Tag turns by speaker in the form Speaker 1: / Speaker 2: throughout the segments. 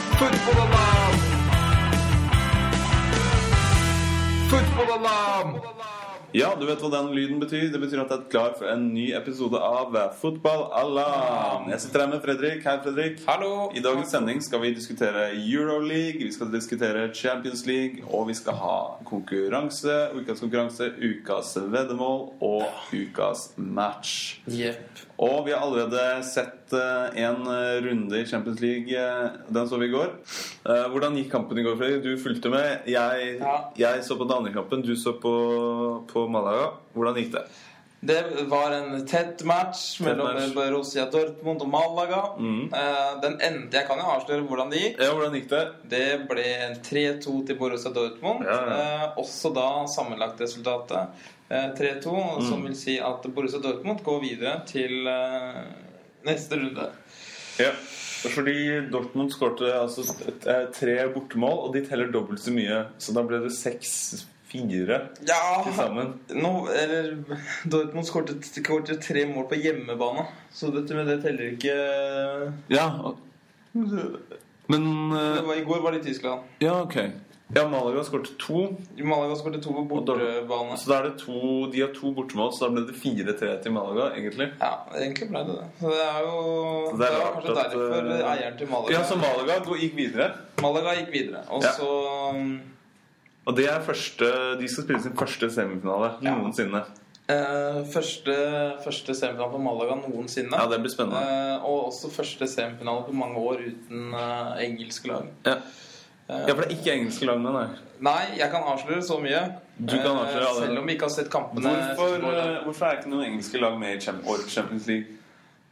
Speaker 1: Fotballalarm! Fotballalarm!
Speaker 2: Ja, du vet hva den lyden betyr. Det betyr at det er klar for en ny episode av Fotballalarm. Jeg sitter her med Fredrik. Hei, Fredrik.
Speaker 3: Hallo!
Speaker 2: I dagens sending skal vi diskutere Euroleague, vi skal diskutere Champions League, og vi skal ha konkurranse, ukas konkurranse, ukas veddemål og ukas match.
Speaker 3: Jepp.
Speaker 2: Og vi har allerede sett eh, en eh, runde i Champions League. eh, Den så vi i går. Eh, Hvordan gikk kampen i går, Fredrik? Du fulgte med. Jeg,
Speaker 3: Ja.
Speaker 2: jeg så på den andre kampen, du så på, på Malaga. Hvordan gikk det?
Speaker 3: Det var en tett match mellom
Speaker 2: match. Mm.
Speaker 3: Borussia Dortmund og Malaga. Eh, Den endte Jeg kan jo avsløre hvordan det gikk.
Speaker 2: Ja, hvordan gikk det?
Speaker 3: Det ble 3-2 til Borussia Dortmund.
Speaker 2: Ja, ja.
Speaker 3: Eh, Også da sammenlagtresultatet eh, 3-2,
Speaker 2: Mm.
Speaker 3: som vil si at Borussia Dortmund går videre til eh, neste runde.
Speaker 2: Ja. Fordi Dortmund skårte altså, eh, tre bortemål, og de teller dobbelt så mye. Så da ble det seks-fire til
Speaker 3: Ja
Speaker 2: sammen.
Speaker 3: nå, eller, Dortmund skåret skåret tre mål på hjemmebane, så det, men det teller ikke
Speaker 2: Ja. Men
Speaker 3: Det
Speaker 2: eh,
Speaker 3: var, I går var det i Tyskland.
Speaker 2: Ja, ok. Ja, Malaga skårte to.
Speaker 3: Malaga skåret to på bortebane.
Speaker 2: Så da er det to, De har to bortemål, så da ble det 4-3 til Malaga, egentlig.
Speaker 3: Ja, egentlig ble det det. Så det er jo
Speaker 2: Så
Speaker 3: det,
Speaker 2: det er
Speaker 3: var
Speaker 2: rart
Speaker 3: kanskje
Speaker 2: at,
Speaker 3: derfor
Speaker 2: eh,
Speaker 3: eieren til Malaga
Speaker 2: Ja, så Malaga gå- gikk videre.
Speaker 3: Malaga gikk videre. Og
Speaker 2: Ja.
Speaker 3: så mm,
Speaker 2: Og det er første, de skal spille sin første semifinale
Speaker 3: Ja.
Speaker 2: noensinne.
Speaker 3: eh, første, første semifinale på Malaga noensinne.
Speaker 2: Ja, Det blir spennende.
Speaker 3: Eh, og også første semifinale på mange år uten eh, engelsk lag.
Speaker 2: Ja,
Speaker 3: Eh,
Speaker 2: ja for det er ikke engelske lag med, nei.
Speaker 3: Nei, jeg kan avsløre så mye.
Speaker 2: Du kan
Speaker 3: Eh,
Speaker 2: avsløre alle.
Speaker 3: Selv om vi ikke har sett kampene.
Speaker 2: Hvorfor,
Speaker 3: siste
Speaker 2: eh, hvorfor er ikke noen engelske lag med i Champ- årets Champions League?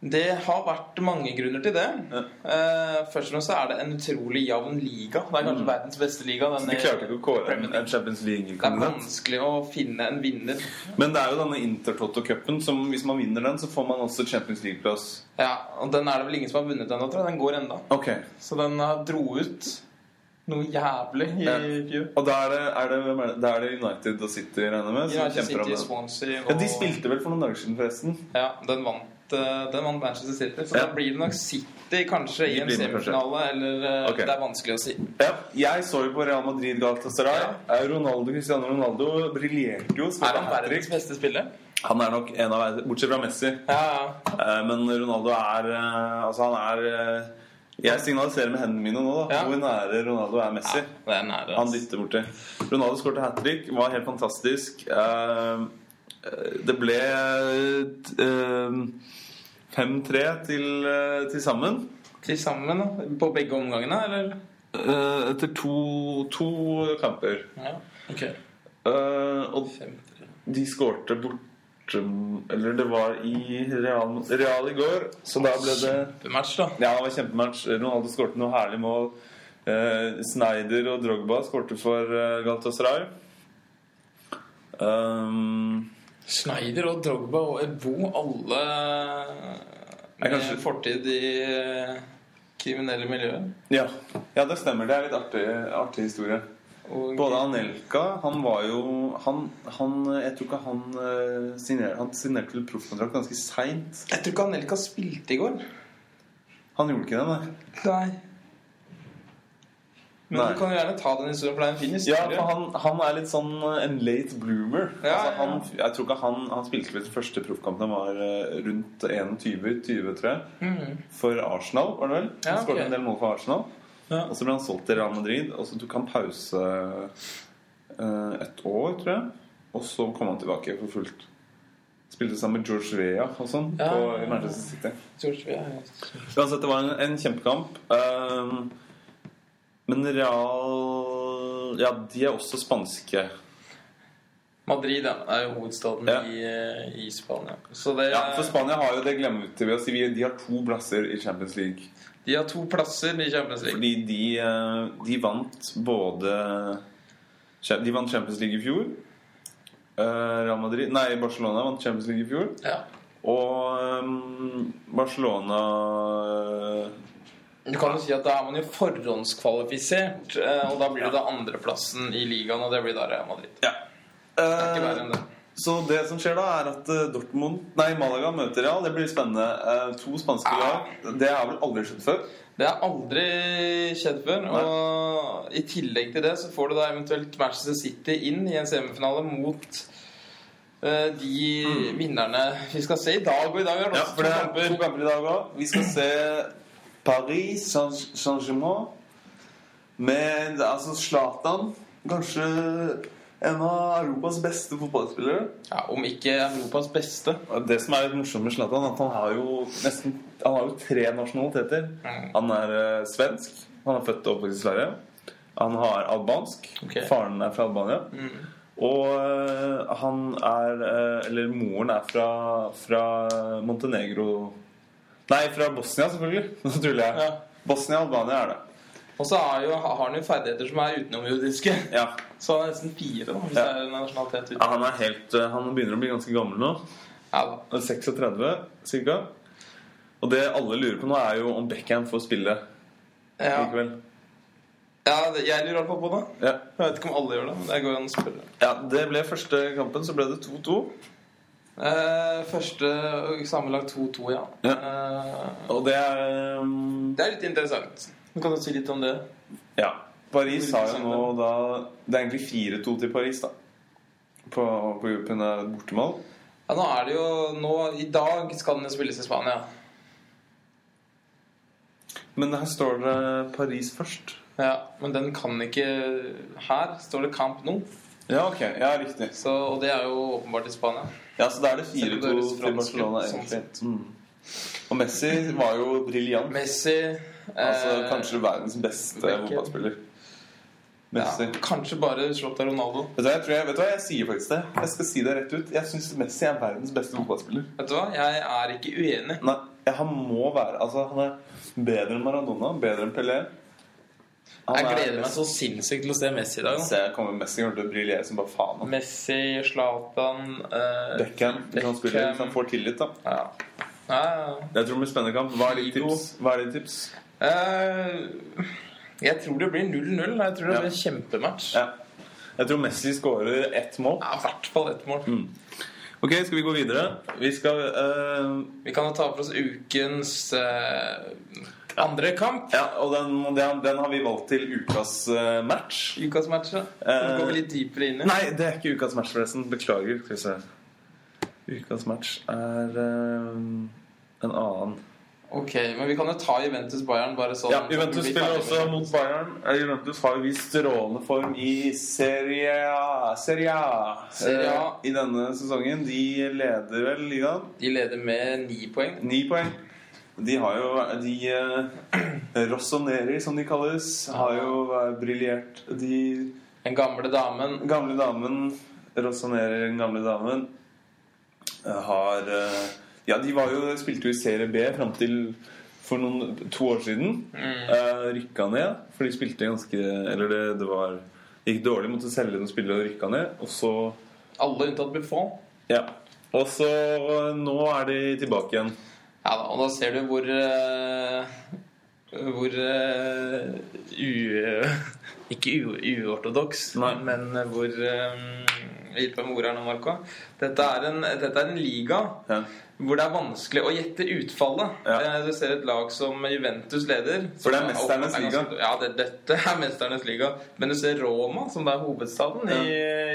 Speaker 3: Det har vært mange grunner til det.
Speaker 2: Ja.
Speaker 3: Eh, først og fremst så er det en utrolig jevn liga. Det er kanskje verdens beste liga.
Speaker 2: Mm.
Speaker 3: Den
Speaker 2: De
Speaker 3: er-
Speaker 2: klarte ikke å kåre en
Speaker 3: Premier League.
Speaker 2: en Champions
Speaker 3: det er
Speaker 2: League-kandidat.
Speaker 3: vanskelig å finne en vinner.
Speaker 2: Men det er jo denne Intertoto-cupen som hvis man vinner den, så får man også Champions League-plass.
Speaker 3: Ja, og Den er det vel ingen som har vunnet ennå, tror jeg. Den går enda.
Speaker 2: Ok,
Speaker 3: Så den eh, dro ut noe jævlig i
Speaker 2: Ja.
Speaker 3: fjor.
Speaker 2: Og da er det, er det, hvem er det, da er det United og City, regner jeg med? som
Speaker 3: United
Speaker 2: kjemper om
Speaker 3: City,
Speaker 2: den.
Speaker 3: Swansea og
Speaker 2: Ja, De spilte vel for noen dager siden, forresten.
Speaker 3: Ja, den vant, eh, den vant Manchester City. Så
Speaker 2: Ja.
Speaker 3: da blir det nok City kanskje i
Speaker 2: De
Speaker 3: en
Speaker 2: blir med, kanskje.
Speaker 3: semifinale, eller eh,
Speaker 2: Ok.
Speaker 3: Det er vanskelig å si.
Speaker 2: Ja, jeg så jo på Real Madrid Galatasaray. Ja. Ronaldo, Cristiano Ronaldo briljerte jo. skåret
Speaker 3: Er han
Speaker 2: hat-trick.
Speaker 3: verdens beste spiller?
Speaker 2: Han er nok en av verdens Bortsett fra Messi.
Speaker 3: Ja, ja.
Speaker 2: Eh, Men Ronaldo er eh, Altså, han er eh, Jeg signaliserer med hendene mine nå da
Speaker 3: Ja.
Speaker 2: hvor nære Ronaldo er Messi.
Speaker 3: ja. Det er eh, nære.
Speaker 2: Han
Speaker 3: ass.
Speaker 2: dytter borti. Ronaldo skåret hat trick. Var helt fantastisk. Eh, eh, Det ble eh, 5-3 til, eh, til sammen.
Speaker 3: Til sammen da, på begge omgangene, eller?
Speaker 2: Eh, Etter to, to kamper.
Speaker 3: Ja, ok
Speaker 2: Eh, Og De skårte borte Eller det var i Real, Real i går, så da ble det
Speaker 3: Match da
Speaker 2: Ja, det var kjempematch. Ronaldo skårte noe herlig mål. Eh, Snyder og Drogba skårte for eh, Galatasaray. Um,
Speaker 3: Schneider og Drogba og Ebo Alle
Speaker 2: Jeg
Speaker 3: med
Speaker 2: kanskje-
Speaker 3: fortid i eh, kriminelle miljøer
Speaker 2: ja. ja, det stemmer. Det er litt artig, artig historie.
Speaker 3: Og-
Speaker 2: Både Anelka Han var jo han, han, Jeg tror ikke han eh, signer, Han signerte vel proffkontrakt ganske seint.
Speaker 3: Jeg tror ikke Anelka spilte i går
Speaker 2: Han gjorde ikke det, nei.
Speaker 3: Nei Men
Speaker 2: Nei.
Speaker 3: du kan jo gjerne ta den historien For det er en fin
Speaker 2: Ja,
Speaker 3: historie
Speaker 2: for han, han er litt sånn eh, en late bloomer. altså,
Speaker 3: Ja, ja, ja.
Speaker 2: han, jeg tror ikke han, han spilte vel første proffkamp da han var eh, rundt 21-20, tror jeg.
Speaker 3: Mhm.
Speaker 2: For Arsenal, var det vel?
Speaker 3: Ja,
Speaker 2: han skåret
Speaker 3: ok.
Speaker 2: en del mål for Arsenal.
Speaker 3: Ja.
Speaker 2: Og så ble han solgt til Real Madrid, og så tok han pause eh, et år, tror jeg. Og så kom han tilbake for fullt. Spilte sammen med George Vea og sånn
Speaker 3: Ja,
Speaker 2: på
Speaker 3: ja, ja.
Speaker 2: Manchester City.
Speaker 3: George, ja, ja.
Speaker 2: Uansett, det var en, en kjempekamp. Ehm, men Real Ja, de er også spanske.
Speaker 3: Madrid ja, er jo hovedstaden
Speaker 2: Ja.
Speaker 3: i, eh, i Spania Så det
Speaker 2: Ja, For Spania har jo det glemmer til ved å si vi- De har to plasser i Champions League.
Speaker 3: De har to plasser i Champions League
Speaker 2: Fordi de, eh, de vant både De vant Champions League i fjor. Eh, Real Madrid Nei, Barcelona vant Champions League i fjor.
Speaker 3: Ja
Speaker 2: Og ehm, Barcelona
Speaker 3: Du kan jo si at Da er man jo forhåndskvalifisert, eh, og da blir det da andreplassen i ligaen, og det blir da Real Madrid.
Speaker 2: Ja.
Speaker 3: Det er ikke verre enn det.
Speaker 2: Så det som skjer da, er at eh, Dortmund Nei, Malaga møter Real. Det blir spennende. Eh, To spanske
Speaker 3: Ah.
Speaker 2: lag. Det har vel aldri skjedd før.
Speaker 3: Det har aldri skjedd før. Og i tillegg til det så får du da eventuelt Manchester City inn i en semifinale mot eh, de vinnerne vi skal se i dag. Og i dag er det
Speaker 2: Ja,
Speaker 3: også
Speaker 2: for det er
Speaker 3: to kamper.
Speaker 2: i dag òg. Vi skal se Paris Saint- Saint-Germain med altså Zlatan. Kanskje en av Europas beste fotballspillere.
Speaker 3: Ja, om ikke Europas beste.
Speaker 2: Og Det som er litt morsomt med Zlatan, er at han har jo nesten Han har jo tre nasjonaliteter.
Speaker 3: Mm.
Speaker 2: Han er eh, svensk. Han er født og oppvokst i Sverige. Han har albansk.
Speaker 3: Ok. Mm.
Speaker 2: Faren er fra Albania. Og eh, han er eh, Eller moren er fra, fra Montenegro Nei, fra Bosnia, selvfølgelig. Nå tuller jeg.
Speaker 3: Ja.
Speaker 2: Bosnia og Albania er det.
Speaker 3: Og så har, jo, har han jo ferdigheter som er utenomjordiske.
Speaker 2: Ja.
Speaker 3: Så han er nesten fire, da, hvis
Speaker 2: Ja.
Speaker 3: det er en nasjonalitet
Speaker 2: Ja,
Speaker 3: uten.
Speaker 2: Han er helt eh, Han begynner å bli ganske gammel nå.
Speaker 3: Ja, da.
Speaker 2: 36 ca. Og det alle lurer på nå, er jo om Beckham får spille
Speaker 3: Ja.
Speaker 2: likevel.
Speaker 3: ja, det- jeg lurer i hvert fall på det.
Speaker 2: Ja.
Speaker 3: Jeg vet ikke om alle gjør det, men det går an å spørre.
Speaker 2: ja, det ble første kampen, så ble det 2-2.
Speaker 3: Eh, første sammenlagt 2-2, ja.
Speaker 2: Ja.
Speaker 3: Eh,
Speaker 2: Og det er um,
Speaker 3: det er litt interessant. Du kan jo si litt om det.
Speaker 2: Ja. Paris har jo nå da Det er egentlig 4-2 til Paris, da. På, på gruppen er et bortemål.
Speaker 3: Ja, nå er det jo nå, I dag skal den jo spilles i Spania.
Speaker 2: Men her står det Paris først.
Speaker 3: Ja, Men den kan ikke Her står det Camp Nou,
Speaker 2: Ja, ok. Ja, riktig.
Speaker 3: så, og det er jo åpenbart i Spania.
Speaker 2: Ja, Så da er det
Speaker 3: Selv om
Speaker 2: 4-2
Speaker 3: det høres
Speaker 2: til
Speaker 3: fransk ut,
Speaker 2: Barcelona,
Speaker 3: sånn
Speaker 2: egentlig. Mm. Og Messi var jo briljant.
Speaker 3: Messi eh,
Speaker 2: Altså kanskje verdens beste
Speaker 3: Beckham.
Speaker 2: fotballspiller.
Speaker 3: ja,
Speaker 2: Messi.
Speaker 3: Kanskje bare slått av Ronaldo.
Speaker 2: Vet du, hva, jeg tror jeg, vet du hva, jeg sier faktisk det. Jeg skal si det rett ut. Jeg syns Messi er verdens beste fotballspiller.
Speaker 3: Vet du hva? Jeg er ikke uenig.
Speaker 2: Nei, jeg- han må være Altså, han er bedre enn Maradona, bedre enn Pelé. Han
Speaker 3: Jeg
Speaker 2: er-
Speaker 3: gleder meg så sinnssykt til å se Messi i dag. nå.
Speaker 2: Se, jeg kommer Messi kommer til å briljere som bare faen. han.
Speaker 3: Messi, Zlatan eh,
Speaker 2: Beckham, hvis han spiller, hvis han får tillit, da.
Speaker 3: Ja. Ja, ja. ja.
Speaker 2: Jeg tror det blir spennende kamp. Hva er ditt
Speaker 3: Figo.
Speaker 2: tips? Hva er ditt tips?
Speaker 3: Eh, jeg tror det blir 0-0. Jeg tror det
Speaker 2: Ja.
Speaker 3: blir en kjempematch. Ja.
Speaker 2: Ja. Jeg tror Messi skårer ett mål.
Speaker 3: I hvert fall ett mål.
Speaker 2: Ok, skal vi gå videre? Vi skal eh,
Speaker 3: Vi kan jo ta for oss ukens eh, andre kamp.
Speaker 2: Ja, og den, den, den har vi valgt til ukas eh, match.
Speaker 3: Ukas match. da.
Speaker 2: Eh,
Speaker 3: Så går vi litt dypere inn i.
Speaker 2: Nei, det er ikke ukas match, forresten. Beklager. Skal vi se. Ukas match er eh, en annen
Speaker 3: Ok, Men vi kan jo ta Juventus Bayern bare sånn.
Speaker 2: Ja, Juventus
Speaker 3: så vi blir
Speaker 2: spiller
Speaker 3: ferdig
Speaker 2: også
Speaker 3: med det.
Speaker 2: mot Bayern. Eh, Juventus har jo vist strålende form i Serie A. Serie A.
Speaker 3: Serie A.
Speaker 2: Eh, I denne sesongen. De leder vel ligaen.
Speaker 3: De leder med ni poeng.
Speaker 2: Ni poeng. De har jo De eh, Rossoneri, som de kalles, har jo eh, briljert. De
Speaker 3: Den gamle damen
Speaker 2: gamle damen Rossoneri, den gamle damen, eh, har eh, Ja, de var jo, spilte jo i Serie B fram til for noen, to år siden.
Speaker 3: mm,
Speaker 2: Uh, rykka ned, for de spilte ganske Eller det, det var gikk dårlig, måtte selge noen spillere og rykka ned. Og så
Speaker 3: Alle unntatt Buffon.
Speaker 2: Ja. Og så eh, nå er de tilbake igjen.
Speaker 3: Ja da, og da ser du hvor eh, Hvor eh, u... Ikke u- uortodoks,
Speaker 2: Nei.
Speaker 3: men hvor eh, Hjelp meg med ordet her nå, Marco. Dette er, en, dette er en liga
Speaker 2: Ja.
Speaker 3: hvor det er vanskelig å gjette utfallet.
Speaker 2: Ja.
Speaker 3: Eh, Du ser et lag som Juventus leder.
Speaker 2: For det er
Speaker 3: som
Speaker 2: mesternes
Speaker 3: er ganske- Ja, det, dette er mesternes liga. Men du ser Roma, som da er hovedstaden i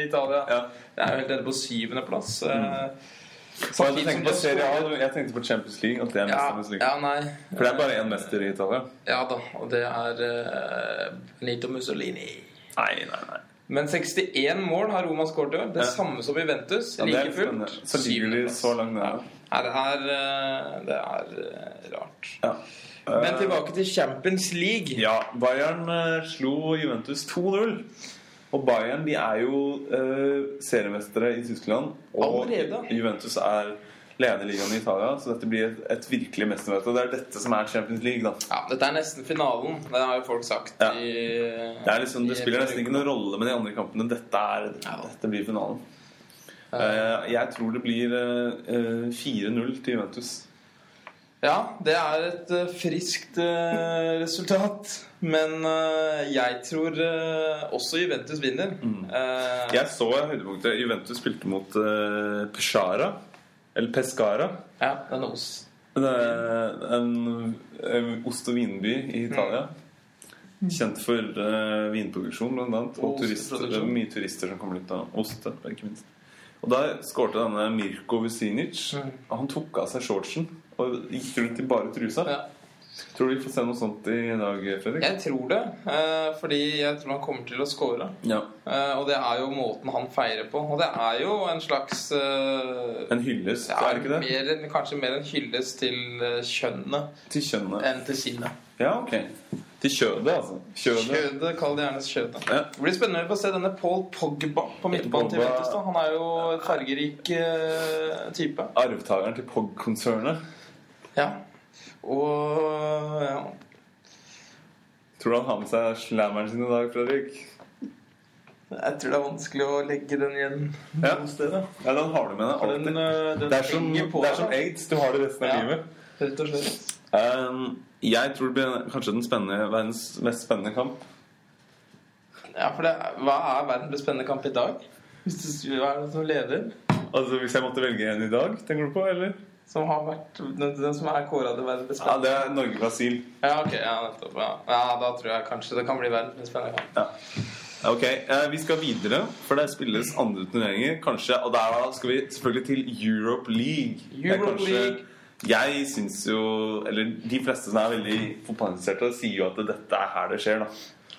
Speaker 3: Italia.
Speaker 2: Ja.
Speaker 3: Det er jo helt nede på syvendeplass. Mm.
Speaker 2: Så jeg, tenkte på Serie A, jeg tenkte på Champions League, at det er
Speaker 3: Ja,
Speaker 2: mesternes liga.
Speaker 3: ja, nei.
Speaker 2: For det er bare én mester i Italia.
Speaker 3: Ja da, og det er eh, Benito Mussolini.
Speaker 2: Nei, nei, nei.
Speaker 3: Men 61 mål har Roma skåret i år. Det
Speaker 2: Ja.
Speaker 3: samme som Juventus.
Speaker 2: Ja, det er
Speaker 3: like
Speaker 2: litt spennende.
Speaker 3: fullt.
Speaker 2: Så ligger de
Speaker 3: Syvendeplass.
Speaker 2: så langt nede.
Speaker 3: Nei, det er, eh, det er eh, rart.
Speaker 2: Ja.
Speaker 3: Men
Speaker 2: Eh,
Speaker 3: tilbake til Champions League.
Speaker 2: Ja, Bayern eh, slo Juventus 2-0. Og Bayern de er jo eh, seriemestere i Tyskland. Og
Speaker 3: Allerede?
Speaker 2: Juventus er leder ligaen i Italia, så dette blir et, et virkelig mestermøte. Det er dette som er Champions League, da.
Speaker 3: Ja, dette er nesten finalen. Det har jo folk sagt.
Speaker 2: Ja.
Speaker 3: i-
Speaker 2: Det, er liksom, det
Speaker 3: i-
Speaker 2: spiller nesten ikke noen rolle med de andre kampene. Dette, er,
Speaker 3: Ja.
Speaker 2: dette blir finalen. Eh, jeg tror det blir eh, eh, 4-0 til Juventus.
Speaker 3: Ja, det er et eh, friskt eh, resultat. Men eh, jeg tror eh, også Juventus vinner.
Speaker 2: Mm.
Speaker 3: Eh,
Speaker 2: Jeg så høydepunktet. Juventus spilte mot eh, Pescara. Eller Pescara.
Speaker 3: ja, den er oss.
Speaker 2: Det er en, en ost- og vinby i Italia.
Speaker 3: Mm.
Speaker 2: Kjent for eh, vinproduksjon, blant annet. Og,
Speaker 3: Og
Speaker 2: turister. Det er
Speaker 3: osteproduksjon.
Speaker 2: mye turister som kommer dit av ost. ikke minst. Og der skårte denne Mirko Vusinic.
Speaker 3: Mm.
Speaker 2: Han tok av seg shortsen og gikk rundt i bare trusa.
Speaker 3: Ja.
Speaker 2: Tror du vi får se noe sånt i dag, Fredrik?
Speaker 3: Jeg tror det, eh, fordi jeg tror han kommer til å score.
Speaker 2: Ja.
Speaker 3: Eh, og det er jo måten han feirer på. Og det er jo en slags eh,
Speaker 2: En hyllest,
Speaker 3: ja,
Speaker 2: er det ikke det?
Speaker 3: Mer, en- kanskje mer en hyllest til eh, kjønnet
Speaker 2: Til kjønnet.
Speaker 3: enn til sinnet.
Speaker 2: Ja, ok. Til kjødet, altså. Kjødet.
Speaker 3: Kjødet, kall det gjerne kjødet.
Speaker 2: Ja.
Speaker 3: Det blir spennende å få se denne Paul Pogba på midtbanen
Speaker 2: Pogba.
Speaker 3: til Ventus. da. Han er jo en fargerik eh, type.
Speaker 2: Arvtakeren til POG-konsernet.
Speaker 3: Ja. Og ja.
Speaker 2: Tror du han har med seg slammeren sin i dag, Fredrik?
Speaker 3: jeg tror det er vanskelig å legge den igjen
Speaker 2: Ja.
Speaker 3: noe sted. da.
Speaker 2: Ja, den har du med deg
Speaker 3: For den,
Speaker 2: alltid.
Speaker 3: eh, den
Speaker 2: Det er som,
Speaker 3: henger på
Speaker 2: det er som
Speaker 3: deg,
Speaker 2: aids. Du har det resten av
Speaker 3: Ja.
Speaker 2: livet.
Speaker 3: da. rett og slett.
Speaker 2: Um, jeg tror det blir kanskje den spennende, verdens mest spennende kamp.
Speaker 3: Ja, for det, Hva er verdens mest spennende kamp i dag? Hvis du, hva er det som leder?
Speaker 2: Altså, Hvis jeg måtte velge en i dag, tenker du på? eller?
Speaker 3: Som har vært, den, den som er kåra til verdens mest
Speaker 2: Ja,
Speaker 3: spennende?
Speaker 2: Det er Norge-Brasil.
Speaker 3: Ja, ok, ja, nettopp. Ja. ja, da tror jeg kanskje det kan bli verdens mest spennende kamp.
Speaker 2: Ja. Ok, eh, Vi skal videre, for det spilles andre turneringer. kanskje, Og der skal vi selvfølgelig til Europe League. Det er
Speaker 3: Europe League.
Speaker 2: Jeg syns jo Eller de fleste som er veldig fotballinteresserte, sier jo at dette er her det skjer. da.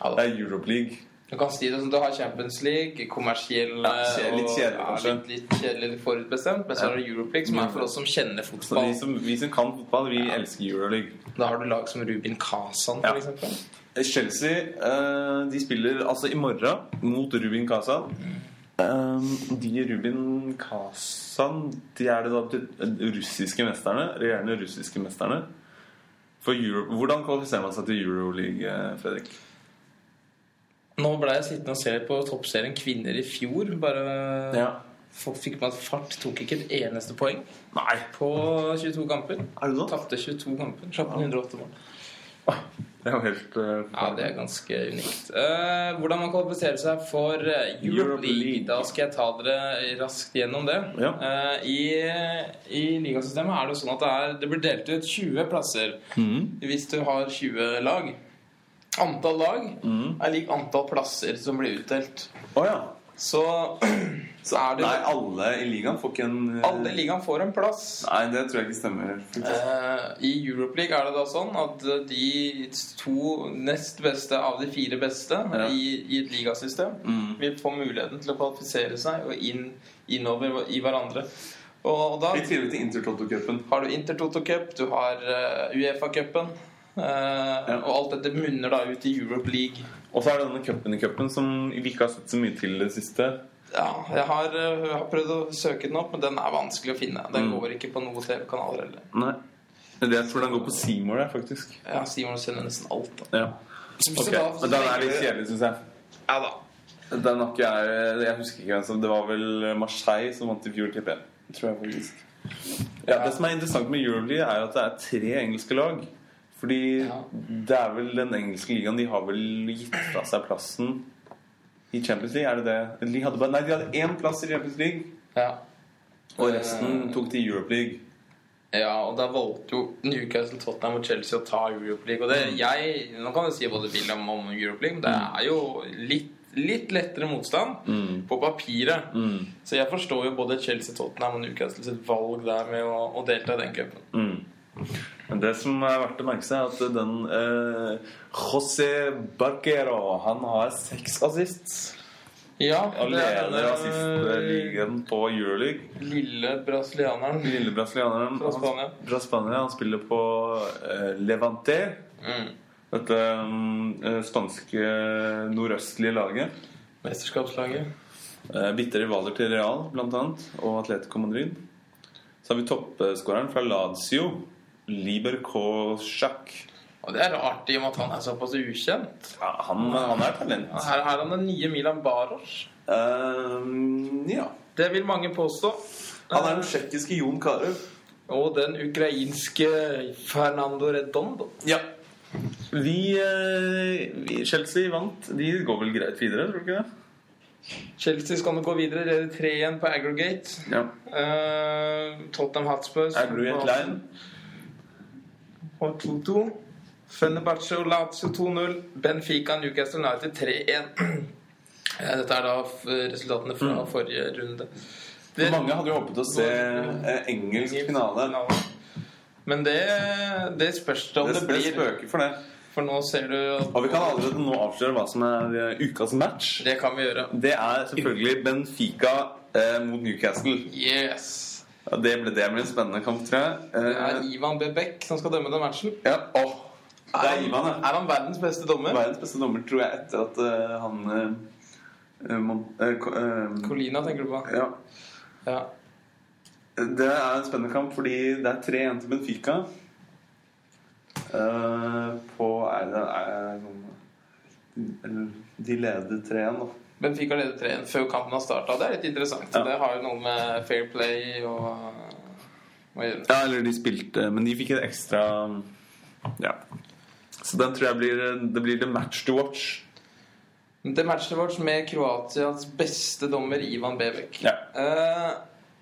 Speaker 3: Ja, da.
Speaker 2: Det er Europe League.
Speaker 3: Du kan si det som du har Champions League, kommersiell
Speaker 2: Ja, kje- litt kjedelig, kanskje.
Speaker 3: litt, litt kjedelig litt forutbestemt. Men så
Speaker 2: Ja.
Speaker 3: har du Europe League, som er for oss som kjenner
Speaker 2: Så vi
Speaker 3: fotball.
Speaker 2: som, vi som kan fotball, vi elsker Euroleague.
Speaker 3: Da har du lag som Rubin Kazan,
Speaker 2: Ja.
Speaker 3: for eksempel.
Speaker 2: Chelsea eh, de spiller altså i morgen mot Rubin Kazan. Eh, de Rubin Kazan De er det da de russiske mesterne. Regjerende russiske mesterne. For Euro Hvordan kvalifiserer man seg til Euroleague, eh, Fredrik?
Speaker 3: Nå ble jeg sittende og se på toppserien Kvinner i fjor. Bare Folk fikk med at fart tok ikke et eneste poeng
Speaker 2: Nei,
Speaker 3: på 22 kamper.
Speaker 2: er det sånn?
Speaker 3: Tapte 22 kamper. Slapp inn 108 mål.
Speaker 2: Det er jo helt eh,
Speaker 3: Ja, det er ganske unikt. Eh, hvordan man kvalifiserer seg for eh, Europe
Speaker 2: Europe
Speaker 3: League.
Speaker 2: League.
Speaker 3: Da skal jeg ta dere raskt gjennom det.
Speaker 2: Ja.
Speaker 3: Eh, I, I ligasystemet er det jo sånn at det, er, det blir delt ut 20 plasser
Speaker 2: Mhm.
Speaker 3: hvis du har 20 lag. Antall lag
Speaker 2: Mm.
Speaker 3: er lik antall plasser som blir utdelt.
Speaker 2: Å ja.
Speaker 3: Så, så er det
Speaker 2: Nei, alle i ligaen får ikke en eh,
Speaker 3: Alle i ligaen får en plass.
Speaker 2: Nei, det tror jeg ikke stemmer.
Speaker 3: Eh, I Europe League er det da sånn at de to nest beste av de fire beste
Speaker 2: Ja.
Speaker 3: i, i et ligasystem
Speaker 2: Mm.
Speaker 3: vil få muligheten til å kvalifisere seg og inn, innover i hverandre. Og, og da
Speaker 2: I tillegg til Intertoto-cupen.
Speaker 3: har du Intertoto Cup, du har eh, Uefa-cupen. eh, Og alt dette munner da ut i Europe League.
Speaker 2: Og så er det denne cupen i cupen som vi ikke har sett så mye til i det siste.
Speaker 3: Ja, jeg har, eh, har prøvd å søke den opp, men den er vanskelig å finne. Den
Speaker 2: Mm.
Speaker 3: går ikke på noen TV-kanaler heller.
Speaker 2: Nei. Men det- Jeg tror den går på Seymour, jeg, faktisk.
Speaker 3: Ja, Simon sender nesten alt, da.
Speaker 2: Ja.
Speaker 3: Så- så
Speaker 2: Ok,
Speaker 3: da- så
Speaker 2: Men den
Speaker 3: lenge
Speaker 2: er litt
Speaker 3: du-
Speaker 2: kjedelig, syns jeg.
Speaker 3: Ja da.
Speaker 2: Den har ikke jeg Jeg husker ikke hvem som Det var vel Marseille som vant i fjor, tipper jeg. Tror jeg faktisk. Ja, det som er interessant med Euroleague, er jo at det er tre engelske lag. Fordi
Speaker 3: Ja.
Speaker 2: det er vel den engelske ligaen De har vel gitt fra seg plassen i Champions League? Er det det? De hadde bare, nei, de hadde én plass i Champions League,
Speaker 3: Ja.
Speaker 2: og resten tok til Europe League.
Speaker 3: Ja, og da valgte jo Newcastle, Tottenham og Chelsea å ta Europe League. Og
Speaker 2: Mm.
Speaker 3: det, jeg, nå kan du si hva du vil om, om Europe League, men det er jo litt, litt lettere motstand på papiret.
Speaker 2: Mm.
Speaker 3: Så jeg forstår jo både Chelsea, Tottenham og Newcastle sitt valg der med å, å delta i den cupen.
Speaker 2: Mm. Men det som er verdt å merke seg, er at den eh, José Barquero Han har seks assists.
Speaker 3: Ja,
Speaker 2: Og
Speaker 3: det er eh,
Speaker 2: leder assistligaen på Euroleague.
Speaker 3: lille brasilianeren.
Speaker 2: Lille brasilianeren
Speaker 3: Fra Spania.
Speaker 2: Han, fra Spania, han spiller på eh, Levante.
Speaker 3: Mm.
Speaker 2: Dette mm, eh, spanske eh, nordøstlige laget.
Speaker 3: Mesterskapslaget.
Speaker 2: Eh, Bitte rivaler til Real blant annet, og Atletico Madrid. Så har vi toppskåreren fra Lazio, Liber Kozjak.
Speaker 3: Og det er rart i og med at han er såpass ukjent.
Speaker 2: Ja, han, han er talent.
Speaker 3: Her her er han den nye Milan Baros.
Speaker 2: Ehm, ja.
Speaker 3: Det vil mange påstå.
Speaker 2: Han er den tsjekkiske Jon Carew.
Speaker 3: Og den ukrainske Fernando Redondo.
Speaker 2: Ja. Vi, eh, vi Chelsea vant. De går vel greit videre, tror du ikke det?
Speaker 3: Chelsea skal nok gå videre. Leder 3 igjen på aggregate.
Speaker 2: Ja.
Speaker 3: Eh, Tottenham Hotspur
Speaker 2: Er du helt klein?
Speaker 3: Og 2-2. Fenerbahçe og Lazio 2-0. Benfica Newcastle United 3-1. Eh, Dette er da f- resultatene fra
Speaker 2: Mm.
Speaker 3: forrige runde. Det-
Speaker 2: Mange hadde jo håpet å se eh, engelsk finale.
Speaker 3: Men det, det spørs det om
Speaker 2: Det,
Speaker 3: det,
Speaker 2: det
Speaker 3: blir.
Speaker 2: spøker for det.
Speaker 3: For nå ser du at
Speaker 2: Og vi kan allerede nå avsløre hva som er eh, ukas match.
Speaker 3: Det kan vi gjøre.
Speaker 2: Det er selvfølgelig Benfica eh, mot Newcastle.
Speaker 3: Yes!
Speaker 2: Ja, det ble det blir en spennende kamp, tror jeg.
Speaker 3: Det er
Speaker 2: Eh,
Speaker 3: Ivan Bebek som skal dømme den matchen.
Speaker 2: ja. Åh, det er Ivan, ja.
Speaker 3: Er han verdens beste dommer?
Speaker 2: Verdens beste dommer, tror jeg, etter at eh, han eh, Mon- eh, Ko- eh,
Speaker 3: Colina, tenker du på?
Speaker 2: Ja.
Speaker 3: Ja.
Speaker 2: Det er en spennende kamp fordi det er tre igjen til Benfica. Eh, på er det er, sånn- eller, De leder 3-1, da.
Speaker 3: Benfica leder 3-1 før kampen har starta. Det er litt interessant.
Speaker 2: Ja.
Speaker 3: Det har jo noe med fair play og å gjøre.
Speaker 2: Ja, eller de spilte Men de fikk en ekstra Ja. Så den tror jeg blir eh, Det blir the match to watch.
Speaker 3: Det matchet vårt med Kroatias beste dommer Ivan Bebek.
Speaker 2: Ja.
Speaker 3: Eh,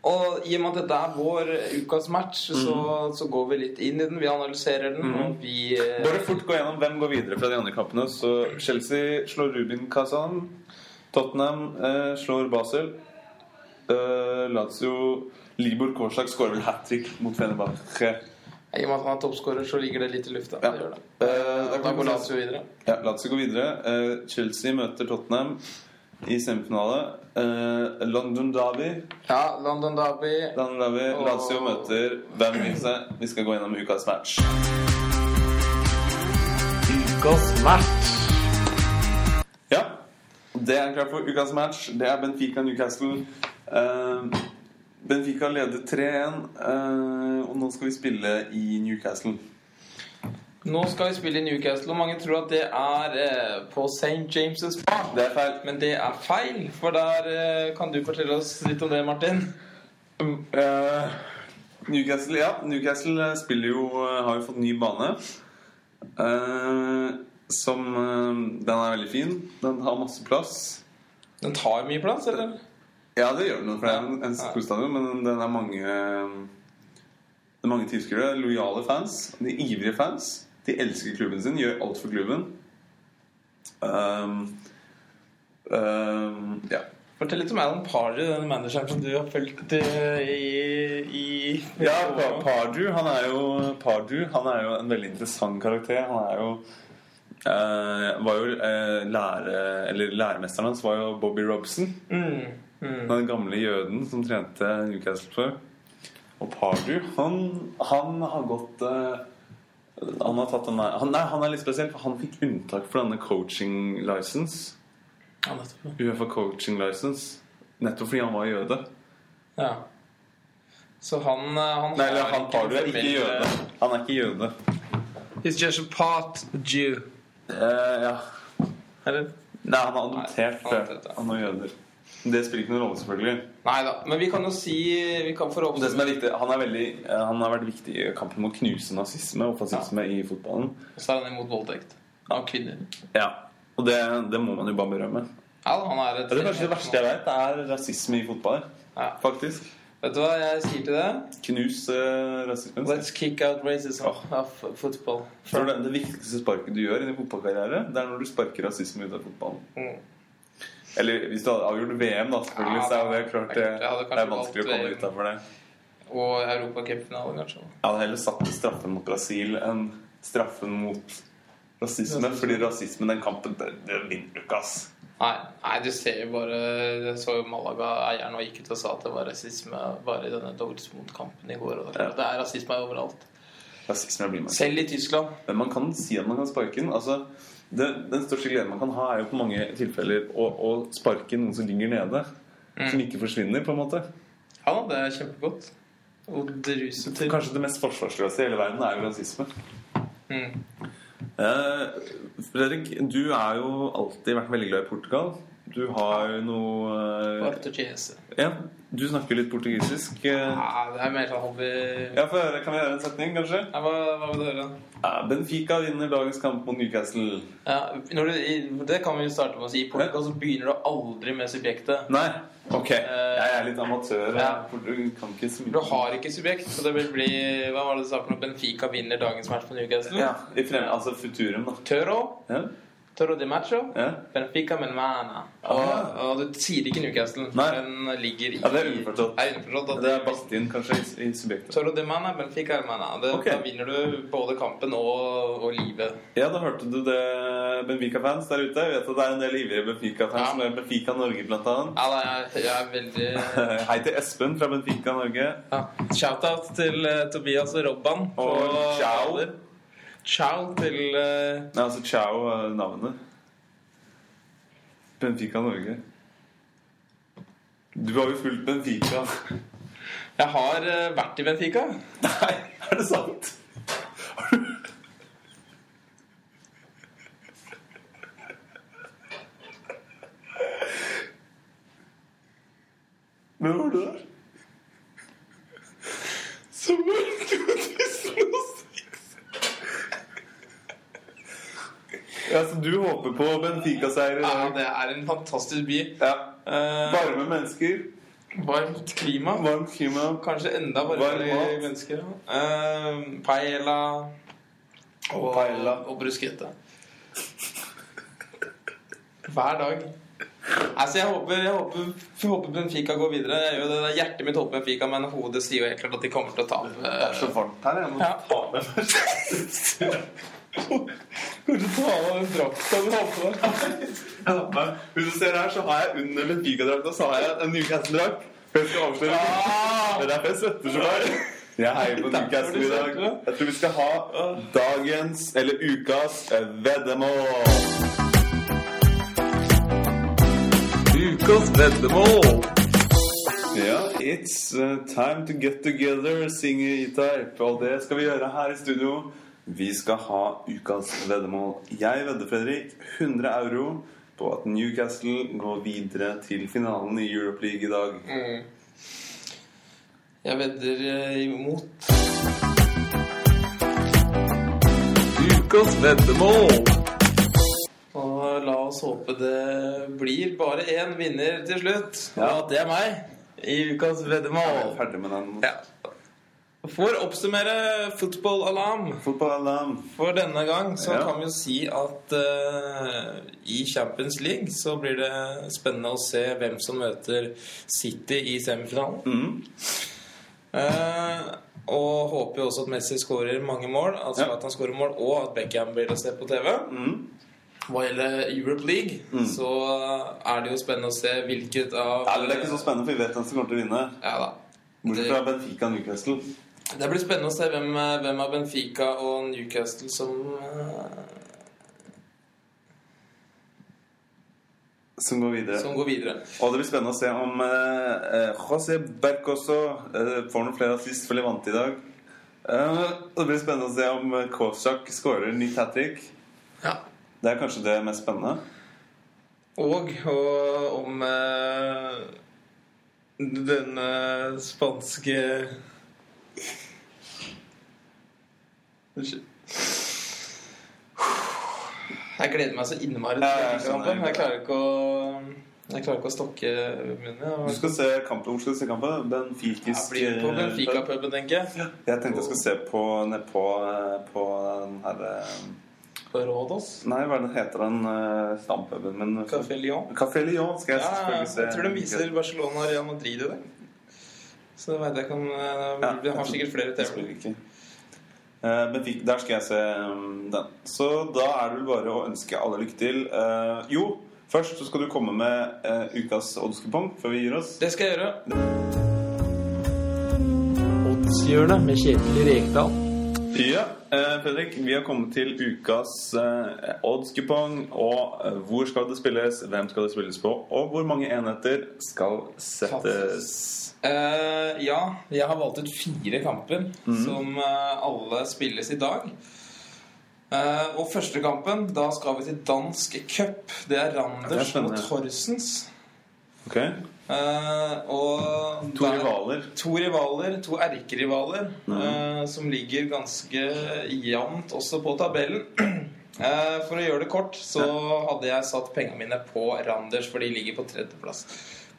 Speaker 3: og i og med at dette er vår ukas match, så, så går vi litt inn i den. Vi analyserer den,
Speaker 2: Mhm.
Speaker 3: og vi eh,
Speaker 2: Bare fort gå gjennom hvem går videre fra de andre kampene. Så Chelsea slår Rubin Kazan. Tottenham eh, slår Basel. Eh, Lazio Libor Korsak skårer vel hat trick mot Fenerbahçe.
Speaker 3: I og med at han er toppskårer, så ligger det litt i lufta.
Speaker 2: Ja.
Speaker 3: Det gjør det.
Speaker 2: Eh,
Speaker 3: Da
Speaker 2: da kan vi
Speaker 3: går
Speaker 2: se-
Speaker 3: Lazio videre.
Speaker 2: Ja, Lazio går videre. Eh, Chelsea møter Tottenham i semifinale. Eh, London Derby
Speaker 3: Ja, London Derby.
Speaker 2: London Derby,
Speaker 3: Og-
Speaker 2: Lazio møter hvem vil seg. Vi skal gå gjennom ukas match.
Speaker 3: Ukas match.
Speaker 2: Ja, det er klart for ukas match. Det er Benfica Newcastle. Eh, Benfica leder 3-1, eh, og nå skal vi spille i Newcastle.
Speaker 3: Nå skal vi spille i Newcastle, og mange tror at det er eh, på St. James' Park.
Speaker 2: Det er feil.
Speaker 3: Men det er feil, for der eh, kan du fortelle oss litt om det, Martin.
Speaker 2: Eh, Newcastle, ja. Newcastle eh, spiller jo eh, Har jo fått ny bane. Eh, som eh, Den er veldig fin. Den har masse plass.
Speaker 3: Den tar mye plass, eller?
Speaker 2: Ja, det gjør noe, for det er en, en
Speaker 3: Ja.
Speaker 2: storstadion, men den er mange Det er mange tilskuere. Lojale fans. De er ivrige fans. De elsker klubben sin, gjør alt for klubben. Ehm, ehm, ja.
Speaker 3: Fortell litt om Alan Pardew, den manageren som du har fulgt eh, i, i
Speaker 2: ja Pa- Pardew, han er jo Pardew, han er jo en veldig interessant karakter. Han er jo eh, var jo eh, lære, eller Læremesteren hans var jo Bobby Robson.
Speaker 3: Mm, mm.
Speaker 2: Den gamle jøden som trente Newcastle før. Og Pardew, han, han har gått eh, han, har tatt den der, han, nei, han er litt spesiell, for han fikk unntak for denne coaching license.
Speaker 3: Ja, nettopp.
Speaker 2: Uefa coaching license. Nettopp fordi han var jøde.
Speaker 3: Ja. Så han, eh, han
Speaker 2: Nei, eller han
Speaker 3: ikke
Speaker 2: Pardew er ikke
Speaker 3: formell-
Speaker 2: jøde. Han er ikke jøde.
Speaker 3: He's just a part Jew.
Speaker 2: Eh, ja.
Speaker 3: Eller?
Speaker 2: Nei, han er adoptert
Speaker 3: Nei, han er adoptert, ja.
Speaker 2: av noen jøder. Det spiller ikke noen rolle, selvfølgelig.
Speaker 3: Nei da, men vi kan jo si Vi kan
Speaker 2: Og Det som
Speaker 3: forhåpentligvis
Speaker 2: er viktig, han, er veldig, eh, han har vært viktig i kampen mot å knuse nazisme og fascisme i fotballen.
Speaker 3: Så er han imot voldtekt av kvinner.
Speaker 2: Ja, og det, det må man jo bare berømme.
Speaker 3: Ja, da, han er et
Speaker 2: Det er kanskje det verste jeg vet, er rasisme i fotball.
Speaker 3: Ja.
Speaker 2: Faktisk.
Speaker 3: Vet du hva jeg sier til det?
Speaker 2: Knus eh, rasismen. Jeg
Speaker 3: Let's kick out racism of football.
Speaker 2: tror det, det viktigste sparket du gjør i din fotballkarriere, det er når du sparker rasisme ut av fotballen.
Speaker 3: Mm.
Speaker 2: Eller hvis du hadde avgjort VM, da, selvfølgelig,
Speaker 3: Ja,
Speaker 2: så er jo det klart det,
Speaker 3: jeg hadde kanskje
Speaker 2: det er vanskelig å
Speaker 3: valgt
Speaker 2: komme
Speaker 3: VM.
Speaker 2: utafor det.
Speaker 3: Og europacupfinale, kanskje.
Speaker 2: Jeg hadde heller satt straffen mot Brasil enn straffen mot rasisme, fordi rasismen, den kampen, det, det vinner du ikke, ass.
Speaker 3: Nei, nei, du ser jo bare Jeg så jo Malaga-eieren og gikk ut og sa at det var rasisme bare i denne Dortmund-kampen i går. Og det, er klart, det er rasisme overalt.
Speaker 2: Rasisme blir man
Speaker 3: Selv i Tyskland.
Speaker 2: Men man kan si at man kan sparke den. Altså, det, den største gleden man kan ha, er jo på mange tilfeller å, å sparke noen som ligger nede. Som ikke forsvinner, på en måte.
Speaker 3: Ja da, det er kjempegodt. Og druse til.
Speaker 2: Kanskje det mest forsvarsløse i hele verden er jo rasisme.
Speaker 3: Mm.
Speaker 2: Eh, Fredrik, du har jo alltid vært veldig glad i Portugal. Du har noe eh,
Speaker 3: Portugiese.
Speaker 2: Ja, du snakker litt portugisisk. eh.
Speaker 3: Ja, det er mer sånn hobby
Speaker 2: Ja, få høre. Kan vi høre en setning, kanskje?
Speaker 3: Nei, hva, hva vil du høre?
Speaker 2: Ja, Benfica vinner dagens kamp mot Newcastle.
Speaker 3: Ja, når du, i- det kan vi jo starte med å si. I Portugal så begynner du aldri med subjektet.
Speaker 2: Nei? Ok. Jeg er litt amatør.
Speaker 3: Ja.
Speaker 2: for Du kan ikke så
Speaker 3: Du
Speaker 2: mye.
Speaker 3: har ikke subjekt, så det vil bli Hva var det du sa for noe? Benfica vinner dagens match på Newcastle?
Speaker 2: Ja, i frem, altså Futurum, da.
Speaker 3: Toro.
Speaker 2: Ja?
Speaker 3: Toro de macho.
Speaker 2: Ja?
Speaker 3: Benfica men mana.
Speaker 2: Ah,
Speaker 3: Og,
Speaker 2: ja.
Speaker 3: og du sier ikke Newcastle. for
Speaker 2: Nei.
Speaker 3: Den ligger i
Speaker 2: Ja, det er underforstått.
Speaker 3: Er underforstått at
Speaker 2: Det er Bastin, kanskje, i- i subjektet.
Speaker 3: Toro de mana, Benfica er mana. Det,
Speaker 2: Ok.
Speaker 3: Da vinner du både kampen og, og livet.
Speaker 2: Ja, da hørte du det, Benfica-fans der ute. Jeg vet at det er en del ivrige Benfica-fans,
Speaker 3: Ja.
Speaker 2: som er Benfica Norge, blant annet.
Speaker 3: Ja, da, jeg, jeg er veldig
Speaker 2: Hei til Espen fra Benfica Norge.
Speaker 3: ja. Shout-out til eh, Tobias og Robban. på
Speaker 2: Og ciao.
Speaker 3: Valer. Ciao til eh,
Speaker 2: Nei, altså ciao er navnet. Benfica Norge. Du har jo fulgt Benfica.
Speaker 3: Jeg har eh, vært i Benfica.
Speaker 2: Nei, er det sant? Men var du der?
Speaker 3: Sommeren 2006.
Speaker 2: Ja, så du håper på Benfica-seier i
Speaker 3: Ja,
Speaker 2: dag?
Speaker 3: det er en fantastisk by.
Speaker 2: Ja.
Speaker 3: Eh,
Speaker 2: Varme mennesker,
Speaker 3: varmt klima.
Speaker 2: varmt klima.
Speaker 3: Kanskje enda varmere
Speaker 2: Varm mat.
Speaker 3: mennesker. Ja. Eh, paella og,
Speaker 2: Paella.
Speaker 3: og bruschetta. Hver dag. Altså, jeg håper, jeg håper, jeg håper Benfica går videre. Jeg gjør det, det er hjertet mitt håper Benfica, men hodet sier jo helt klart at de kommer til å eh, tape.
Speaker 2: Det er så varmt her. Jeg må
Speaker 3: Ja.
Speaker 2: ta med meg
Speaker 3: Kanskje ta av den drakta du har på deg.
Speaker 2: Ja, men Hvis du ser her, så har jeg under Benfica-drakta så har jeg en Newcastle-drakt. For jeg skal avsløre Det er derfor jeg svetter så mye. Jeg heier på Newcastle i dag. Jeg tror vi skal ha dagens, eller ukas, eh, veddemål. Ukas veddemål. Ja, it's uh, time to get together, synger Itarp. Og det skal vi gjøre her i studio. Vi skal ha ukas veddemål. Jeg vedder, Fredrik, 100 euro på at Newcastle går videre til finalen i Europe League i dag.
Speaker 3: Mm. Jeg vedder eh, imot.
Speaker 2: Ukas veddemål.
Speaker 3: Og la oss håpe det blir bare én vinner til slutt.
Speaker 2: Ja.
Speaker 3: Og at det er meg i ukas veddemål.
Speaker 2: Ferdig med den.
Speaker 3: Mm. Ja. For å oppsummere Football Alarm
Speaker 2: Fotballalarm.
Speaker 3: for denne gang, så
Speaker 2: Ja.
Speaker 3: kan vi jo si at eh, i Champions League så blir det spennende å se hvem som møter City i semifinalen.
Speaker 2: Mm.
Speaker 3: Eh, og håper jo også at Messi skårer mange mål, altså
Speaker 2: Ja.
Speaker 3: at han skårer mål, og at Beckham blir å se på TV.
Speaker 2: Mm.
Speaker 3: Hva gjelder Europe League, så er det jo spennende å se hvilket av
Speaker 2: Eller det er ikke så spennende, for vi vet hvem som kommer til å vinne.
Speaker 3: Ja da.
Speaker 2: Bortsett
Speaker 3: Det,
Speaker 2: fra Benfica Newcastle.
Speaker 3: det blir spennende å se hvem, eh, hvem av Benfica og Newcastle som eh,
Speaker 2: Som går videre.
Speaker 3: Som går videre.
Speaker 2: Og det blir spennende å se om eh, eh, José Bercoso eh, får noen flere assist for Levante i dag. Eh, og det blir spennende å se om eh, Kozak skårer nytt hat trick.
Speaker 3: Ja.
Speaker 2: Det er kanskje det mest spennende.
Speaker 3: Og, og om eh, denne spanske Unnskyld. Jeg gleder meg så innmari til
Speaker 2: Ja, ja, jeg
Speaker 3: den kampen.
Speaker 2: skjønner.
Speaker 3: Jeg klarer ikke å jeg klarer ikke å stokke munnen.
Speaker 2: Du
Speaker 3: Jeg,
Speaker 2: skal se kampen. Hvor skal du se kampen?
Speaker 3: jeg
Speaker 2: Benfikisk
Speaker 3: blir på
Speaker 2: eh,
Speaker 3: Benfica-puben, tenker jeg.
Speaker 2: Jeg tenkte jeg skulle se på nedpå på den her eh,
Speaker 3: På Rådås.
Speaker 2: Nei, hva er det heter den uh, stampuben min?
Speaker 3: Café Lyon.
Speaker 2: Café Lyon skal
Speaker 3: Ja,
Speaker 2: jeg selvfølgelig se.
Speaker 3: jeg tror de viser Barcelona og Real Madrid i dag. Så det veit jeg ikke om eh,
Speaker 2: Ja,
Speaker 3: Vi
Speaker 2: jeg
Speaker 3: har
Speaker 2: tror-
Speaker 3: sikkert flere
Speaker 2: Jeg
Speaker 3: TV-er.
Speaker 2: spiller ikke. Eh, Men fik- der skal jeg se um, den. Så da er det vel bare å ønske alle lykke til. Eh, jo, først så skal du komme med eh, ukas oddskupong før vi gir oss.
Speaker 3: Det skal jeg gjøre. Oddshjørnet med Kjetil Rekdal.
Speaker 2: Ja, eh, Fredrik, vi har kommet til ukas eh, oddskupong. Og eh, hvor skal det spilles, hvem skal det spilles på, og hvor mange enheter skal settes?
Speaker 3: ja,
Speaker 2: Mhm.
Speaker 3: eh, jeg har valgt ut fire kamper som eh, alle spilles i dag. Eh, og første kampen, da skal vi til dansk cup. Det
Speaker 2: Ja,
Speaker 3: er
Speaker 2: det er
Speaker 3: Randers og
Speaker 2: spennende.
Speaker 3: Torsens.
Speaker 2: Ok.
Speaker 3: Eh, og
Speaker 2: To
Speaker 3: der-
Speaker 2: rivaler.
Speaker 3: To rivaler, to erkerivaler,
Speaker 2: Mhm.
Speaker 3: eh, som ligger ganske jevnt også på tabellen. Eh, for å gjøre det kort, så hadde jeg satt pengene mine på Randers, for de ligger på tredjeplass.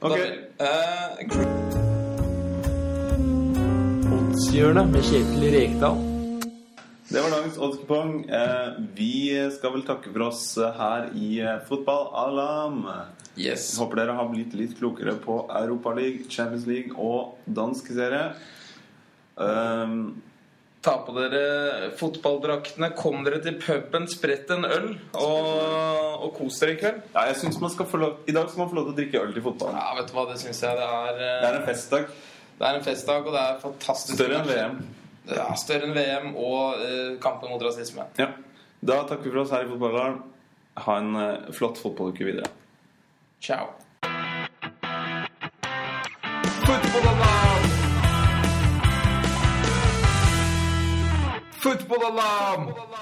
Speaker 3: på
Speaker 2: Ok.
Speaker 3: tabellen. Eh, Gr-
Speaker 1: Oddshjørnet med Kjetil Rekdal.
Speaker 2: Det var dagens oddskupong. Eh, vi skal vel takke for oss eh, her i eh, Fotballalarm.
Speaker 3: yes.
Speaker 2: Håper dere har blitt litt klokere på Europaligaen, Champions League og dansk serie. Um,
Speaker 3: Ta på dere fotballdraktene, kom dere til puben, sprett en øl, og, og kos dere i kveld.
Speaker 2: ja, jeg synes man skal få lov, I dag skal man få lov til å drikke øl til fotballen.
Speaker 3: Ja, vet du hva, det syns jeg det er.
Speaker 2: Det
Speaker 3: eh,
Speaker 2: er en festdag.
Speaker 3: Det er en festdag, og det er fantastisk.
Speaker 2: Større enn VM.
Speaker 3: Ja, større enn VM og eh, kampen mot rasisme.
Speaker 2: Ja. Da takker vi for oss her i Fotballalarm. Ha en eh, flott fotballuke videre.
Speaker 3: Ciao.
Speaker 1: Fotballalarm! Fotballalarm!